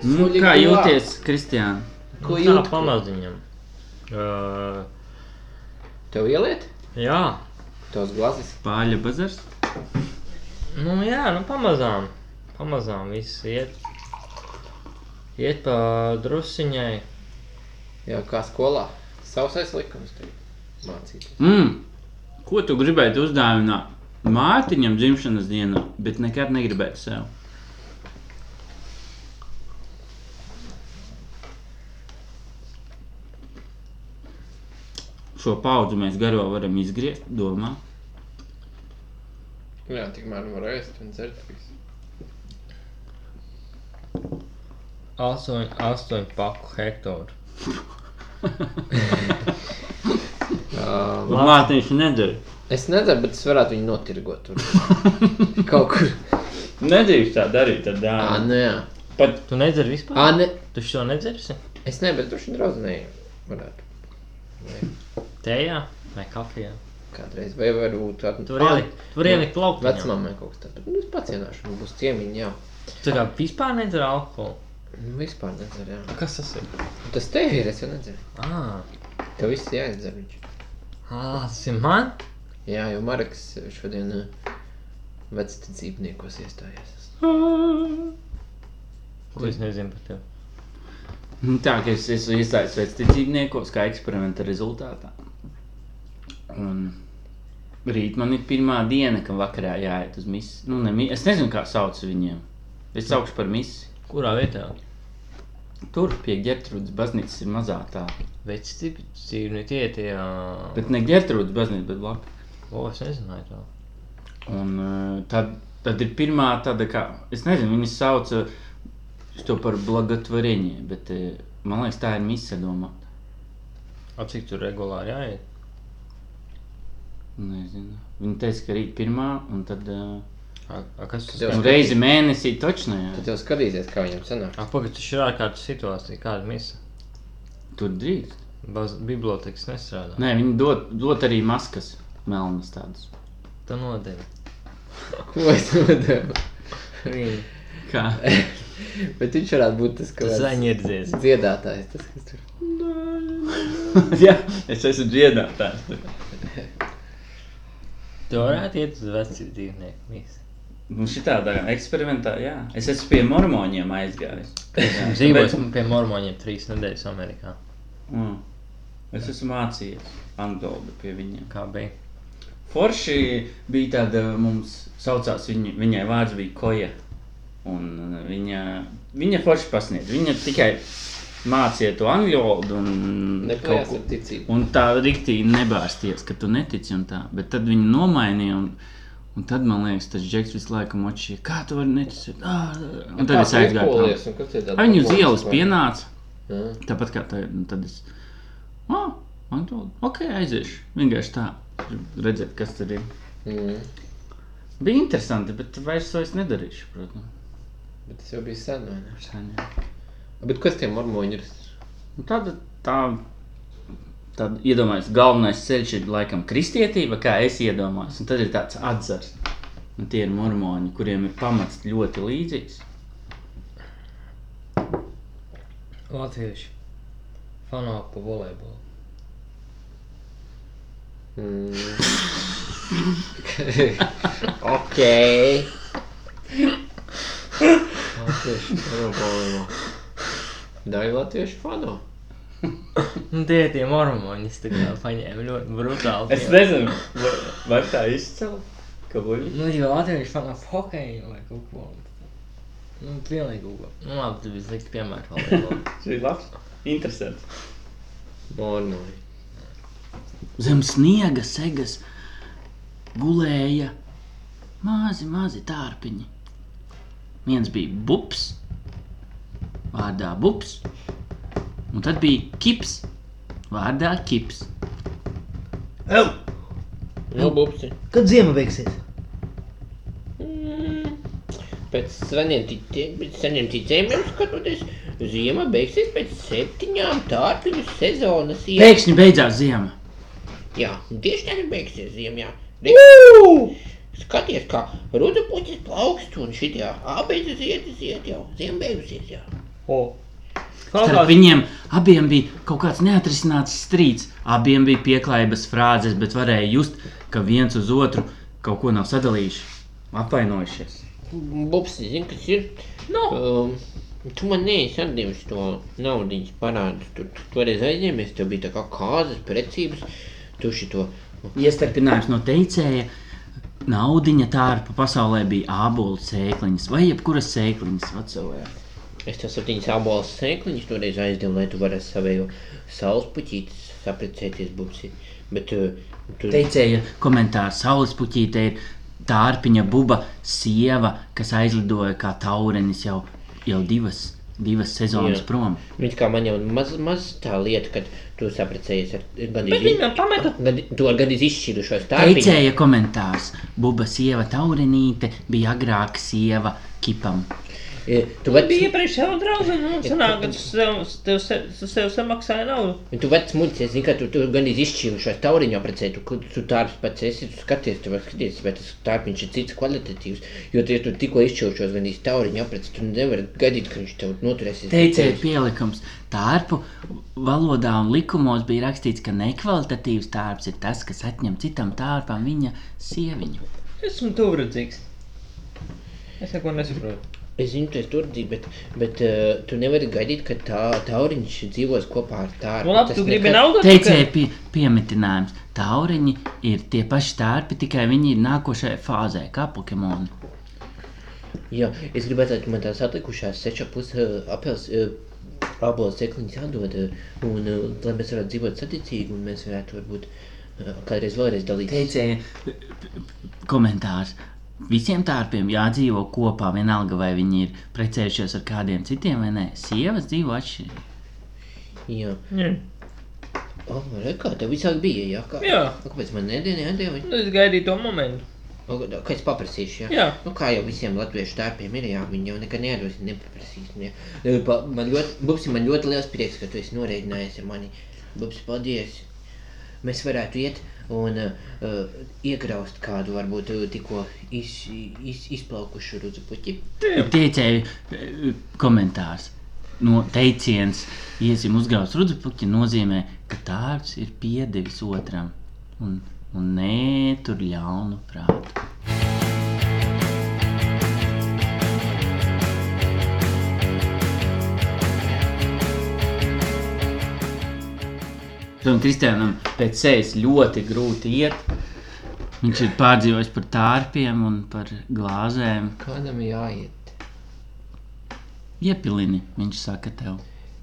Nu, Suļi kā gulā. jūties, Kristiāna? [laughs] Ko Nu, Tā jūt? pamaziņam. Uh, Tev ieliet? jā, Tavs glazis. Pāļa bazars. nu jā, nu pamazām. Pamazām viss iet. Iet pa drusiņai. Jā, kā skolā. Sausais likums tev. Mācīt. Mm. Ko tu gribētu uzdāvināt mātiņam dzimšanas dienā, bet nekad negribētu sev? Šo paudzi mēs garo varam izgriezt, domā. Jā, tikmēr nu var ēst un dzert. visu. Astoņu, astoņu paku hektāru. Um, Mātiņš nedara. es nedzeru, bet es varētu viņu notirgot tur. [laughs] Kaut kur. Nedrīkst tā darīt, tad jā. Ā, nē. Tu nedzer vispār? Ā, nē. Tu šo nedzersi? Es ne, bet droši vien draudzinēju. Varētu. Tējā vai kafijā? Kādreiz. Vai varbūt... ar- Tu vari ielikt, tu vari ielikt laukumā. Vecmāmai kaut kas tāds. Nu, es pacienāšu, man būs ciemiņi, jā. Tu kā vispār nedzer alkoholu. Nu, vispār nedzer, jā. Kas tas ir? Tas tev ir, es jau nedzeru. Ā, Tev viss jāizdzer viņš. ā, tas ir man? Jā, jo Marks šodien eh, vecticībniekos iestājās. Ko es nezinu par tevi? Nu, Tā kā es esmu iestājis vecticībniekos, kā eksperimenta rezultātā. Un rīt man ir pirmā diena, ka vakarā jāiet uz misiju. Nu, ne, mi- es nezinu, kā sauc viņiem. Es saukšu par misiju. Kurā vietā? Tur pie Gertrūdas baznīcas ir mazā tā. Vecība, dzīvnieki tie tie. ā, Bet ne Gertrūdas baznīca, bet blakus. O, es nezināju to. Un eh, tad, tad ir pirmā tāda, kā, es nezinu, viņas sauc eh, to par blagatvarenie, bet eh, man liekas, tā ir misija domāta. A, cik tur regulāri jāiet? Nezinu. Viņa teica, ka rīt pirmā un tad. Uh, A, a kas tas Tev ir? Un reizi mēnesī točno, jā. Tad tev skatīsies, kā viņam sanāk. A, pagaid, tas ir ārkārtas situācija, kāda misa. Tur drīkst. Baz, bibliotekas nestrādā. Nē, viņi dod, dod arī maskas, melnas tādas. Tu nodevi. Ko es nodevu? [laughs] Rīni. Kā? Bet viņš varētu būt tas, Tu kas zaņirdzies. dziedātājs. Tas, kas tur [laughs] jā, es esmu dziedātājs. Tu varētu iet uz vecību dzīvnieku misi. Nu, šitādā eksperimentā, jā. Es esmu pie mormoņiem [laughs] aizgājis. Jā, Dzīvojis tāpēc- pie mormoņiem trīs nedēļas Amerikā. Mm. Es esmu mācījies angļu valodu pie viņiem. Kā bija? Forši bija tāda mums, saucās viņa, viņai vārds bija koja. Un uh, viņa, viņa forši pasniedz. Viņa tikai mācīja to angļu valodu un neklājās ar ticību. Un tā rīktīgi nebārsties, ka tu netici un tā. Bet tad viņi nomainīja. Un, un tad man liekas, tas džeks visu laiku močīja. Kā tu vari neticēt? Ah, Nu Un tad es aizgāju. prom. aizgāju. Viņi uz ielas pienāca. Jā. Tāpat kā tā, un tad es. Ah, man to ok, aiziešu. Vienkārši tā. Redzēt, kas tur ir. Mm. Bija interesanti, bet vairs to es nedarīšu, protams. Bet tas jau bija sen, vai ne? Saņem. Bet kas tie mormoņi ir? Nu, Tāda tā, tad iedomājas, galvenais ceļš ir laikam kristietība, kā es iedomājos. Un tad ir tāds atzars. Un tie ir mormoņi, kuriem ir pamats ļoti līdzīgs. Latvieši. Fanāku pa volejbolu. [laughs] Mm. ok. Latviešu monēta. Daļa latviešu fanu. Nu, tie tie mormoņi, es tā kā paņēmu ļoti brutāli. Es nezinu, vai- vai tā izcēlās. Nu, jau latvieši fanā hokeju vai kaut ko. [laughs] Nu, pilnīgi gugu. Nu, labi, tu biji slikti piemēri. Tas ir labs, interesants. Mormoji. Zem sniega segas gulēja mazi, mazi tārpiņi. Viens bija bups, vārdā bups, un tad bija kips, vārdā kips. Nu, bubsi. Kad ziema beigsies? Mm, Pēc seniem ticē- pēc seniem ticējumiem skatoties, ziema beigsies pēc septiņām tārpiņu sezonas. iet- Pēkšņi beidzās ziema. Jā, un tieši tagad beigsies ziemā. Skaties, kā rudas puķis plaukst un šitie abeļas iet, iet jau ziemā beigusies. Jā. Starp viņiem abiem bija kaut kāds neatrisināts strīds. Abiem bija pieklājības frāzes, bet varēja just, ka viens uz otru kaut ko nav sadalījuši, apvainojušies. Bobs, zini, kas ir? No. Um, tu man neesi atdevis to naudu parādu. Tu, tu toreiz aizņēmies, tev bija tā kā kāzas, precības. Tu šito Iestarpinājums no teicēja, naudiņa tārpa pasaulē bija ābolu sēkliņas vai jebkuras sēkliņas pasaulē. Es tev septiņas abolus sēkliņus toreiz aizdevu, lai tu varētu savējo saules puķītes saprecēties, bubsi. Bet uh, tu... Teicēja komentārs saules puķītē ir tārpiņa buba sieva, kas aizlidoja kā taurenis jau, jau divas, divas sezonas Jā. prom. Viņš kā man jau maz, maz tā lieta, kad tu sapracējies ar Bet gandrīz, viņi man pameta. gandrīz, tu ar gandrīz izšķirušos tārpiņu. Teicēja komentārs, buba sieva taurenīte bija agrāk sieva kipam. E, Tu Tu biji vec, iepriekš jau draugs, un nu, sanāk, ka tu sev, tev, se- tu sev samaksāji naudu. tu vec muļcies, zini, ka tu, tu gandrīz izšķirušos tauriņu apracēji, tu, kur tu tārps pats esi, tu skaties, tu var skaties, vai tas tārpiņš ir cits kvalitatīvs, jo tie tu tikko izšķirušos gandrīz tauriņu apracēji, tu nevari gaidīt, ka viņš tev noturēsies. Teicēja pielikums, tārpu valodā un likumos bija rakstīts, ka nekvalitatīvs tārps ir tas, kas atņem citam tārpam viņa sieviņu. Esmu tuvredzīgs. Es neko nesaprotu. Es zinu, tas ir turdīgi, bet, bet uh, tu nevari gaidīt, ka tā tauriņš dzīvos kopā ar tādu. Nu, labi, tu gribi naudu? Teicēja pie, piemitinājums, tauriņi ir tie paši tārpi, tikai viņi ir nākošajā fāzē, kā Pokemoni. Jā, es gribētu, lai tu man tās atlikušās seša puse apels. Abos sēkliņus atdod, eh, un eh, lai mēs varētu dzīvot saticīgi, un mēs varētu varbūt eh, kādreiz vēlreiz dalīties. Teicēja p- p- komentārs. Visiem tārpiem jādzīvo kopā, vienalga vai viņi ir precējušies ar kādiem citiem vai nē. Sievas dzīvo atšķirīgi. Jā, Jā. oh, re, kā tev visāk bija, jā? Kā, Jā. Kāpēc man nedēļa atdeva? Nu, es gaidīju to momentu. O, Kā es paprasīšu, jā? Jā. Nu, kā jau visiem latviešu tērpiem ir, jā, viņi jau nekad nedos, nepaprasīs. Ne. Nu, pa- Man ļoti, Bubsi, man ļoti liels prieks, ka tu esi noreidinājis ar mani. Bubsi, paldies. Mēs varētu iet un uh, uh, iegraust kādu, varbūt uh, tikko iz, iz, izplaukušu rudzu puķi. Teicēja e, komentārs. No teiciens, iesim uzgrauzt rudzupuķi, nozīmē, ka tārps ir piedevis otram un, un nē, tur ļaunu prātu. Tam Kristianam pēc sejas ļoti grūti iet. Viņš ir pārdzīvojis par tārpiem un par glāzēm. Kādam jāiet? Iepilini, viņš saka tev,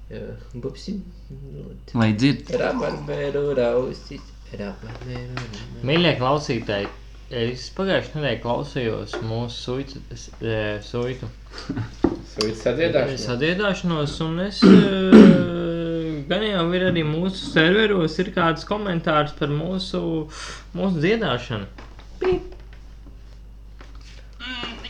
Uh, Bubsi, nu, t- lai dzird, rabarberu rausis, rabarberu rausis. Mīļie klausītāji, es pagājušajā nedēļā klausījos mūsu suitu, s- e, suitu Sūdz sadiedāšana. sadiedāšanos, un es e, [coughs] gan jau ir arī mūsu serveros ir kāds komentārs par mūsu, mūsu dziedāšanu. Mm,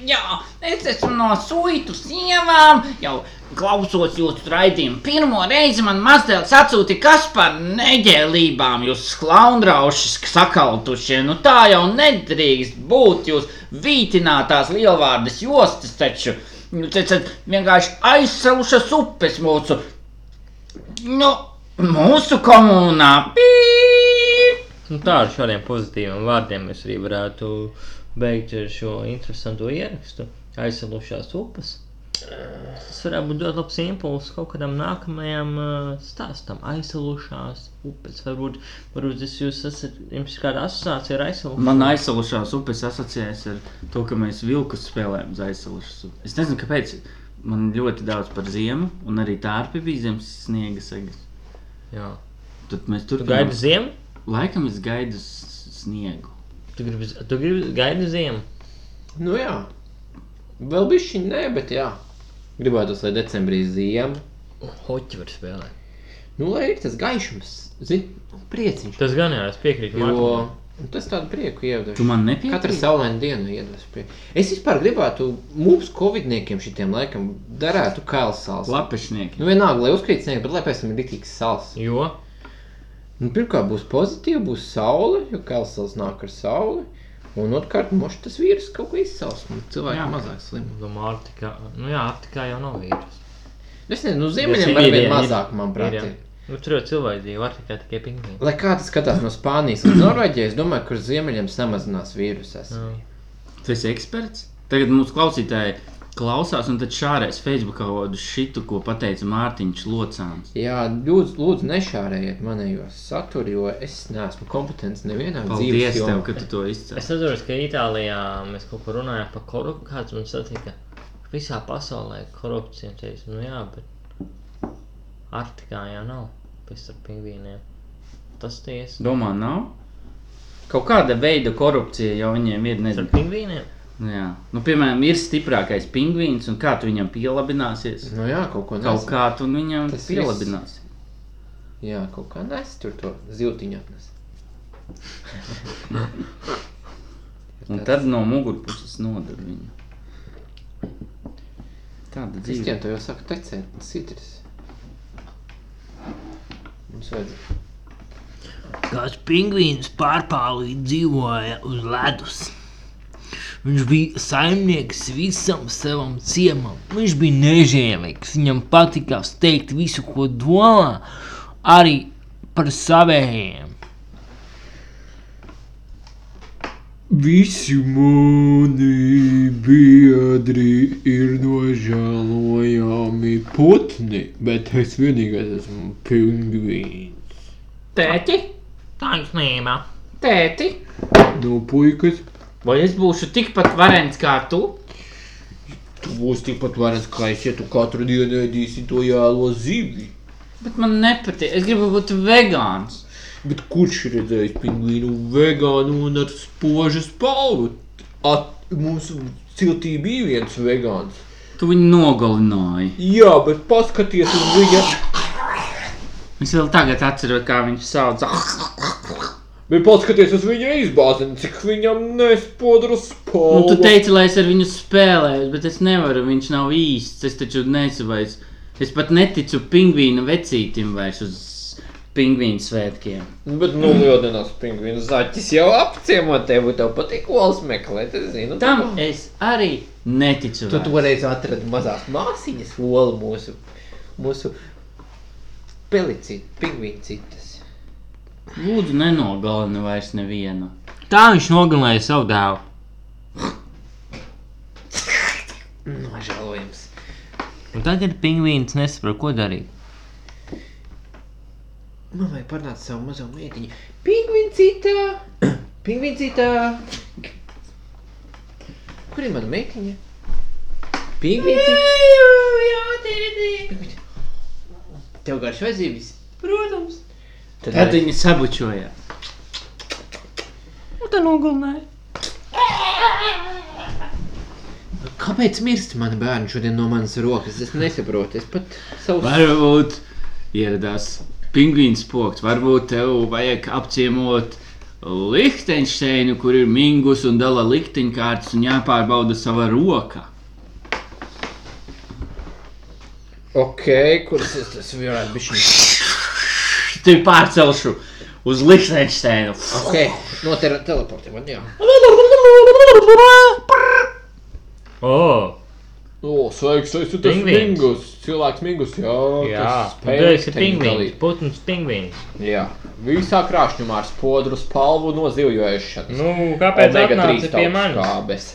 Jā, es esmu no suitu sievām. Jau klausos jūsu raidījumu. Pirmo reizi man mazdēlis atsūtīja, kas par neģēlībām jūs sklaundraušas sakaltušie. Nu tā jau nedrīkst būt jūs vītinātās lielvārdas jostas taču. Jūs esat vienkārši aizsalušas upes mūsu, nu, mūsu komunā. Pīp! Nu, tā ar šādiem pozitīviem vārdiem mēs arī varētu beigt ar šo interesantu ierakstu. Aizsalušās upes. Tas varētu būt ļoti labs impulss kaut kādam nākamajam uh, stāstam. Aizsalušās upes. Varbūt, varbūt tas jūs esat, jums ir kāda asociācija ar aizsalušām. man aizsalušās upes asociējas ar to, ka mēs vilkus spēlējam uz aizsalušas upes. Es nezinu, kāpēc man ļoti daudz par ziemu, un arī tārpi bija zemes sniega segas. Jā. Tad mēs Tu turpinām. gaidi ziemu? Laikam es gaidu s- sniegu. Tu gribi, tu gribi gaidi ziemu? Nu jā, vēl bišķiņ nē, bet jā. Gribētos, lai decembrī ziema. Hoķi var spēlēt. Nu, lai ir tas gaišums, zini, prieciņš. Tas gan jā, es piekrītu. Jo Mārtiņam. nu, tas tādu prieku iedod. Tu man Katra nepiekrīti. saulaina diena iedod prieku. Es vispār gribētu mums, covidniekiem, šitiem laikam, darētu kāls sāls. Lapešnieki. Nu, vienalga, lai uzkrītsnieki, bet lai pēc tam ir rītīgs sāls. Jo? Nu, pirmkārt, būs pozitīva, būs saule, jo kāls nāk ar sauli. Un otrkārt, mošs tas vīrus kaut ko izsals. un Cilvēki Jā. mazāk slimi. Domā, Arktika. Nu jā, Arktika jau nav vīrus. Es nezinu, nu, Bet ir ziemeļiem var ir, būt ir. mazāk, manuprāt. Ir, jā. ir. Nu, tur jau cilvēki dzīvo, Arktika tikai pingvīni. Lai kā tas skatās no Spānijas un Norvēģijas, es domāju, kur ziemeļiem samazinās vīrusus. Jā. Tu esi eksperts. Tagad mūsu klausītāji klausās, un tad šārēs Facebookā vadu šitu, ko pateica Mārtiņš Locāns. Jā, lūdzu, lūdzu nešārējiet manējos saturu, jo es neesmu kompetents nevienā Paldies dzīves tev, jomā. ka tu to izcēli. Es atceros, ka Itālijā mēs kaut ko runājām par korupciju. Kāds man sacīja, ka visā pasaulē ir korupcija. Es teicu, nu jā, bet Arktikā jau nav pēc tam pingvīniem. Tas tiesa. Domā, nav? Kaut kāda veida korupcija jau viņiem ir. Ar Nezinu. pingvīniem? Nu Jā, nu, piemēram, ir stiprākais pingvīns, un kā tu viņam pielabināsies? Nu jā, kaut ko Kaut nes. kā tu viņam Tas pielabināsi. Jā, kaut kā nes tur to ziltiņu atnes. [laughs] Un tad no mugurpuses nodod viņu. Tāda dzīve. Kristian, tev jau saka tecēt citris. Mums vajadz. Kāds pingvīns pārpālīja dzīvoja uz ledus. Viņš bija saimnieks visam savam ciemam. Viņš bija nežēlīgs. Viņam patika teikt visu, ko domā, arī par savējiem. Visi mani biedri ir nožēlojami putni, bet es vienīgais esmu pingvīns. Tēti, Taisnība. tēti, Nu, puikas, vai es būšu tikpat varens kā tu? Tu būsi tikpat varens, kā es, ja tu katru dienu ēdīsi to jālo zivi. Bet man nepatīk. Es gribu būt vegāns. Bet kurš ir redzējis pingvīnu vegānu un ar spožu spalvu? At, mūsu ciltī bija viens vegāns. Tu viņu nogalināji. Jā, bet paskaties uz viņa. Es vēl tagad atceros, kā viņš sauc. Bet paskaties uz viņa izbāziņu, cik viņam nespodra Nu, spalva. tu teici, lai es ar viņu spēlēju, bet es nevaru. Viņš nav īsts. Es taču nesu vairs. Es pat neticu pingvīna vecītim vairs uz pingvīna svētkiem. Bet nu lieldienās pingvīnu zaķis jau apciemo tevi, tev patīk olas meklēt, es zinu. Tam es arī neticu. Tu vairs. toreiz atradi mazās māsīņas olu mūsu, mūsu pelicītas, pingvīncītas. Lūdzu, nenogalini vairs nevienu. Tā viņš nogalināja savu dēlu. Nu, Nožēlojams. Un tagad pingvīns nesaprot, ko darīt. Man vajag parādīt savu mazo meitiņu. Pingvincītā! Pingvincītā! Kur ir mana meitiņa? Pingvincītā! Pingvincītā. Tev garš vai zivis? Protams. Tad, Tad viņi sabučoja. Kāpēc mirst mani bērni šodien no manas rokas? Es nesaprotu. Es pat savu Varbūt ieradās pingvīns poks, varbūt tev vajag apciemot Lihtensteinu, kur ir mingus un dala likteņkārtas un jāpārbauda sava roka. Ok, kurš es tas varētu būt šis? Tev pārcelšu uz Lihtensteinu. Ok, no te teleportiem man jā. O, oh, O, sveiks, es esmu tas Pingvīns. mingus. Cilvēks mingus, jā. jā, tas tas ir pēkšņi pingvīns. dalīt. Putns pingvīns. Jā, visā krāšņumā ar spodru spalvu nozīvojušanu. Nu, kāpēc atnāci pie manis? skābes.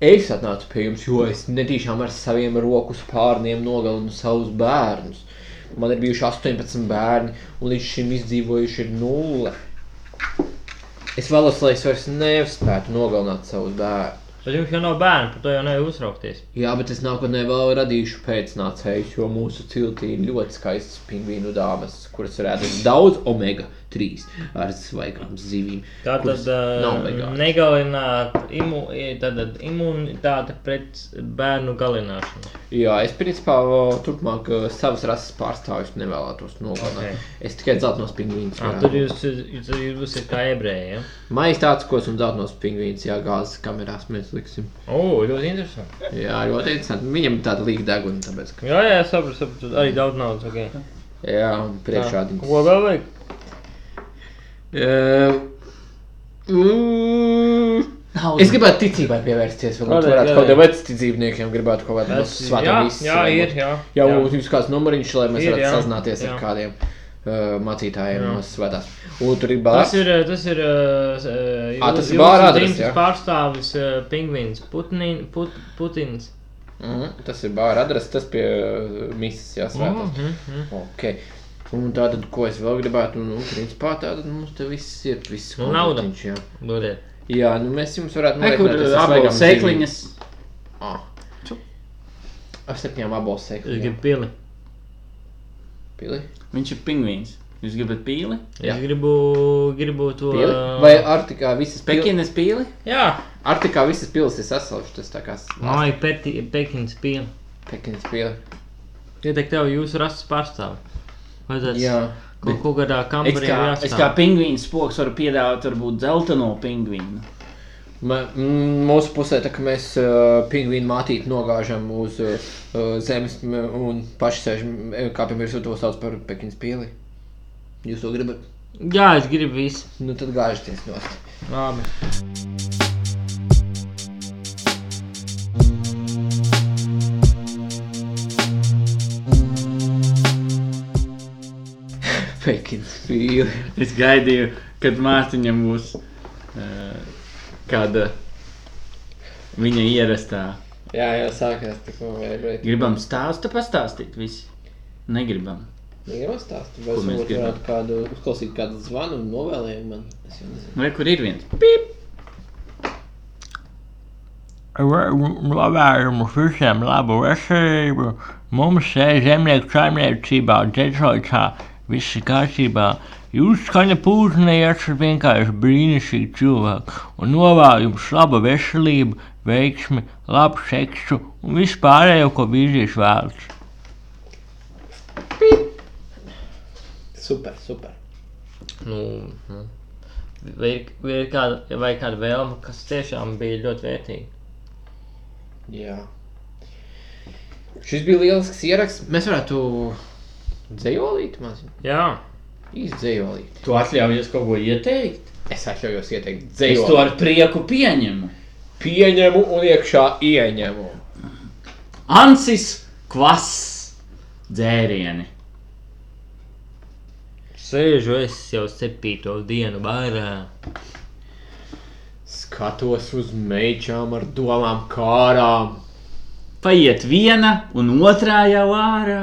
Es atnācu pie jums, jo es netīšām ar saviem roku spārniem nogalinu savus bērnus. Man ir bijuši 18 bērni, un līdz šim izdzīvojuši ir nulle. Es vēlos, lai es vairs nespētu nogalināt savus bērnus. Bet jums jau nav bērnu, par to jau nevar uztraukties. Jā, bet es nākotnē vēl radīšu pēcnācējus, jo mūsu ciltī ir ļoti skaistas pingvīnu dāmas, kuras varētu būt daudz omega-3 ar svaigām zivīm. Tā kuras tad nav uh, omega. negalināt imu, tātad imunitāte pret bērnu galināšanu. Jā, es principā vēl turpmāk uh, savas rases pārstāvjus nevēlētos nogalināt. Ok. Okay. Es tikai dzeltenos pingvīnus. Ah, varētu. tur jūs, jūs, jūs būsiet kā ebreji. Ja? Maijs tāds, ko esmu dzeltenos pingvīns, jā, gāzes kamerās mēs liksim. O, ļoti interesanti. Jā, ļoti interesanti. Viņam ir tāda līga deguna, tāpēc, ka... Jā, jā, saprotu, saprotu. Arī daudz naudas. Okay. Jā, un priekšā Tā. dims. Ko vēl vajag? Mm. Es gribētu ticībai pievērsties. Vēl Kādai, tur varētu kādai? kaut kādiem veciem dzīvniekiem, gribētu kaut kādu no Es- svētām izsvētām. jā, ir, jā. Jau jā. mums ir kāds numuriņš, lai mēs Ir, varētu jā. sazināties ar Jā. kādiem uh, mācītājiem Jā. no svētās. Un tur ir bārs. Tas ir, eh, tas ir, eh, s- eh, Ā, tas jūsu- ir bāra jūsu adrese, dzimtas jā? pārstāvis, eh, pingvīns, putnin, put, putins. Mhm, Tas ir bārs adrese, tas pie uh, misijas jāsvētās. Mhm, mhm. Ok. Un tā tad, ko es vēl gribētu, nu, principā tā tad mums te viss ir, viss Nu, nauda. eh, komplektiņš, jā. Dodiet. Jā, nu mēs jums varētu Nē, kur norēķināties ar abas svaigām sēkliņas. zīmēm. Ā. Ar septiņām abos Es sēkliņām. gribu pili. Pili? Viņš ir pingvīns. Jūs gribat pīli? Jā. Es gribu, gribu to. Pili? Vai Arktikā visas pili? Pekinas pīli? Jā, Arktikā visas pilis ir sasaušas, tas tā kā s- man ir peti- pekins pili. Pekinas pili. Ietek tev jūsu rases pārstāvi. Vajadzētu Jā. kaut, kaut kādā Es kambarī kā, es kā pingvīns spoks varu piedāvāt varbūt dzelteno pingvīnu. Ma- mm, Mūsu pusē tā, ka mēs uh, pingvīnu mātīti nogāžam uz uh, uh, zemes m, un paši sēžam, e, kāpjam virsū to sauc par Pekinas pili. Jūs to gribat? Jā, es gribu visu. Nu tad gāžaties [laughs] nost. Labi. Pekinas pili. Es gaidīju, kad Mārtiņam būs eh, kāda viņa ierastā. Jā, jau sākās tikko vēlēt. Gribam stāstu pastāstīt visi. Negribam. Gribam stāstīt, vai Ko mēs varbūt gribam? varētu kādu, uzklausīt kādu zvanu un novēlējumu man. Es jau nezinu. Vai kur ir viens? Labējumu visiem labu veselību. Mums ir zemnieku saimniecībā, Detroitā, viss ir kārtībā. Jūs skaņa pūznē esat vienkārši brīnišķīgi cilvēki. Un novēlu jums labu veselību, veiksmi, labu seksu un vispārējo, ko vīrietis vēlas. Super, super. Nu, nu. Vai ir, vai ir kāda, vai kāda vēlme, kas tiešām bija ļoti vērtīga? Jā. Šis bija lielisks ieraksts. Mēs varētu dzējolīt maziņu. Jā, Īsti dzējolīt. Tu atļaujies kaut ko ieteikt? Es atļaujos ieteikt Es to dzējolīt. ar prieku pieņemu. Pieņemu un iekšā ieņemu. Ansis kvass dzērieni. sēžu es jau septīto dienu barā. Skatos uz meitām ar domām kārām. Paiet viena un otrā jau ārā.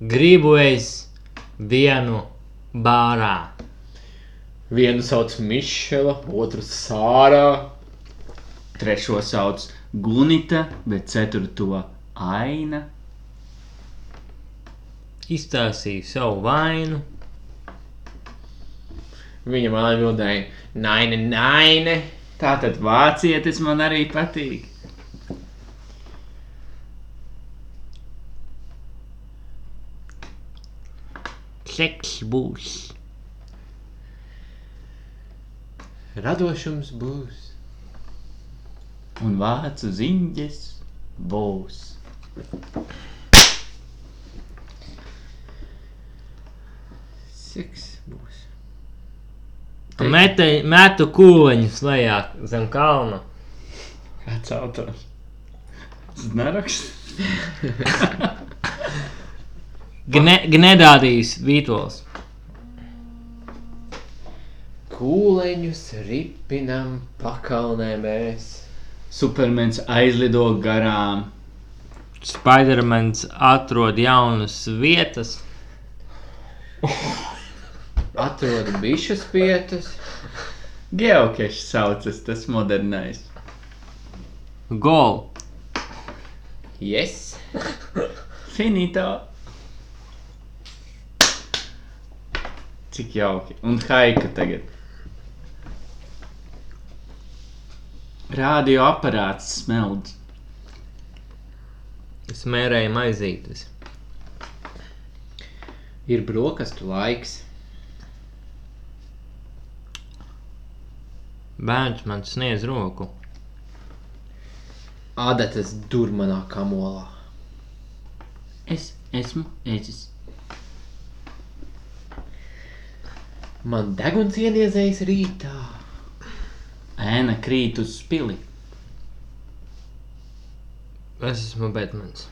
Gribu es vienu bārā. Vienu sauc Mišela, otru Sārā. Trešo sauc Gunita, bet ceturto aina. Izstāstīju savu vainu. Viņam atbildēja, naini, naini. Tātad vācietis man arī patīk. Seks būs. Radošums būs. Un vācu ziņģis būs. Seks būs. Mete, metu kūliņus lejā zem kalna. Kāds autors? Znaraksts. Gne, gnedādījis vītols. Kūleņus ripinam pakalnē mēs. Supermens aizlido garām. Spidermans atrod jaunas vietas. Atrodu bišas pietas. Geokešs saucas, tas modernais. Gol! Yes. Finito. Cik jauki. Un haika tagad. Radio aparāts smeld. Es mērēju maizītes. Ir brokastu laiks. Bērns man sniedz roku. Adatas durmanā kamolā. Es esmu ēdzis. Man deguns ieniezējis rītā. Ēna krīt uz spili. Es esmu Batmans.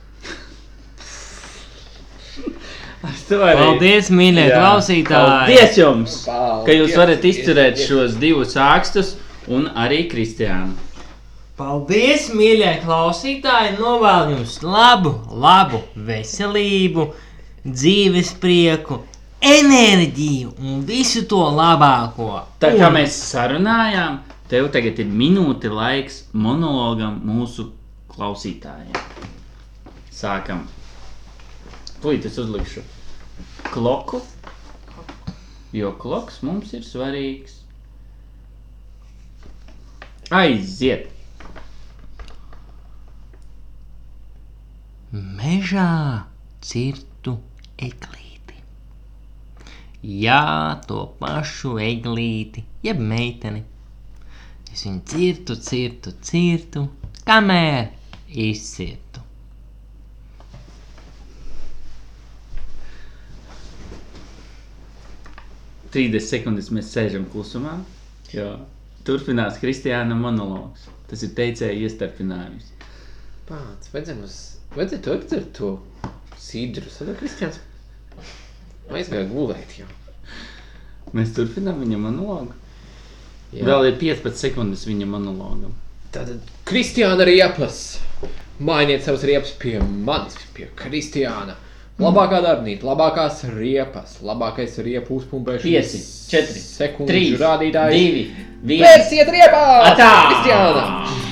Ar to arī. Paldies, mīļie Jā. klausītāji! Paldies jums, Paldies, ka jūs varat izturēt paldies. šos divus ākstus un arī Kristiānu. Paldies, mīļie klausītāji! Novēlu jums labu, labu veselību, dzīves prieku, enerģiju un visu to labāko. Tā kā mēs sarunājām, tev tagad ir minūte laiks monologam mūsu klausītājiem. Sākam. Tūlīt es uzlikšu kloku, jo kloks mums ir svarīgs. Aiziet! Mežā cirtu eglīti. Jā, to pašu eglīti, jeb meiteni. Es viņu cirtu, cirtu, cirtu, kamēr izcirtu. trīs sekundes mēs sēžam klusumā. Jo turpinās Kristiāna monologs. Tas ir teicēja iestarpinājums. Pāns, vajadzētu mums, vajadzētu to apdzert to sidru. Sada Kristians aizgāja gulēt jau. Mēs turpinām viņa monologu. Jā. Jā. Vēl ir 15 sekundes viņa monologam. Tātad Kristiāna riepas. Mainiet savas riepas pie manis, pie Kristiāna. Labākā darbnīca, labākās riepas, labākais riepu uzpumpēšanas. Pieci, četri, sekundžu trīs, rādītājs. divi, viens. Vērsiet riepā! Atā! Kristiāna!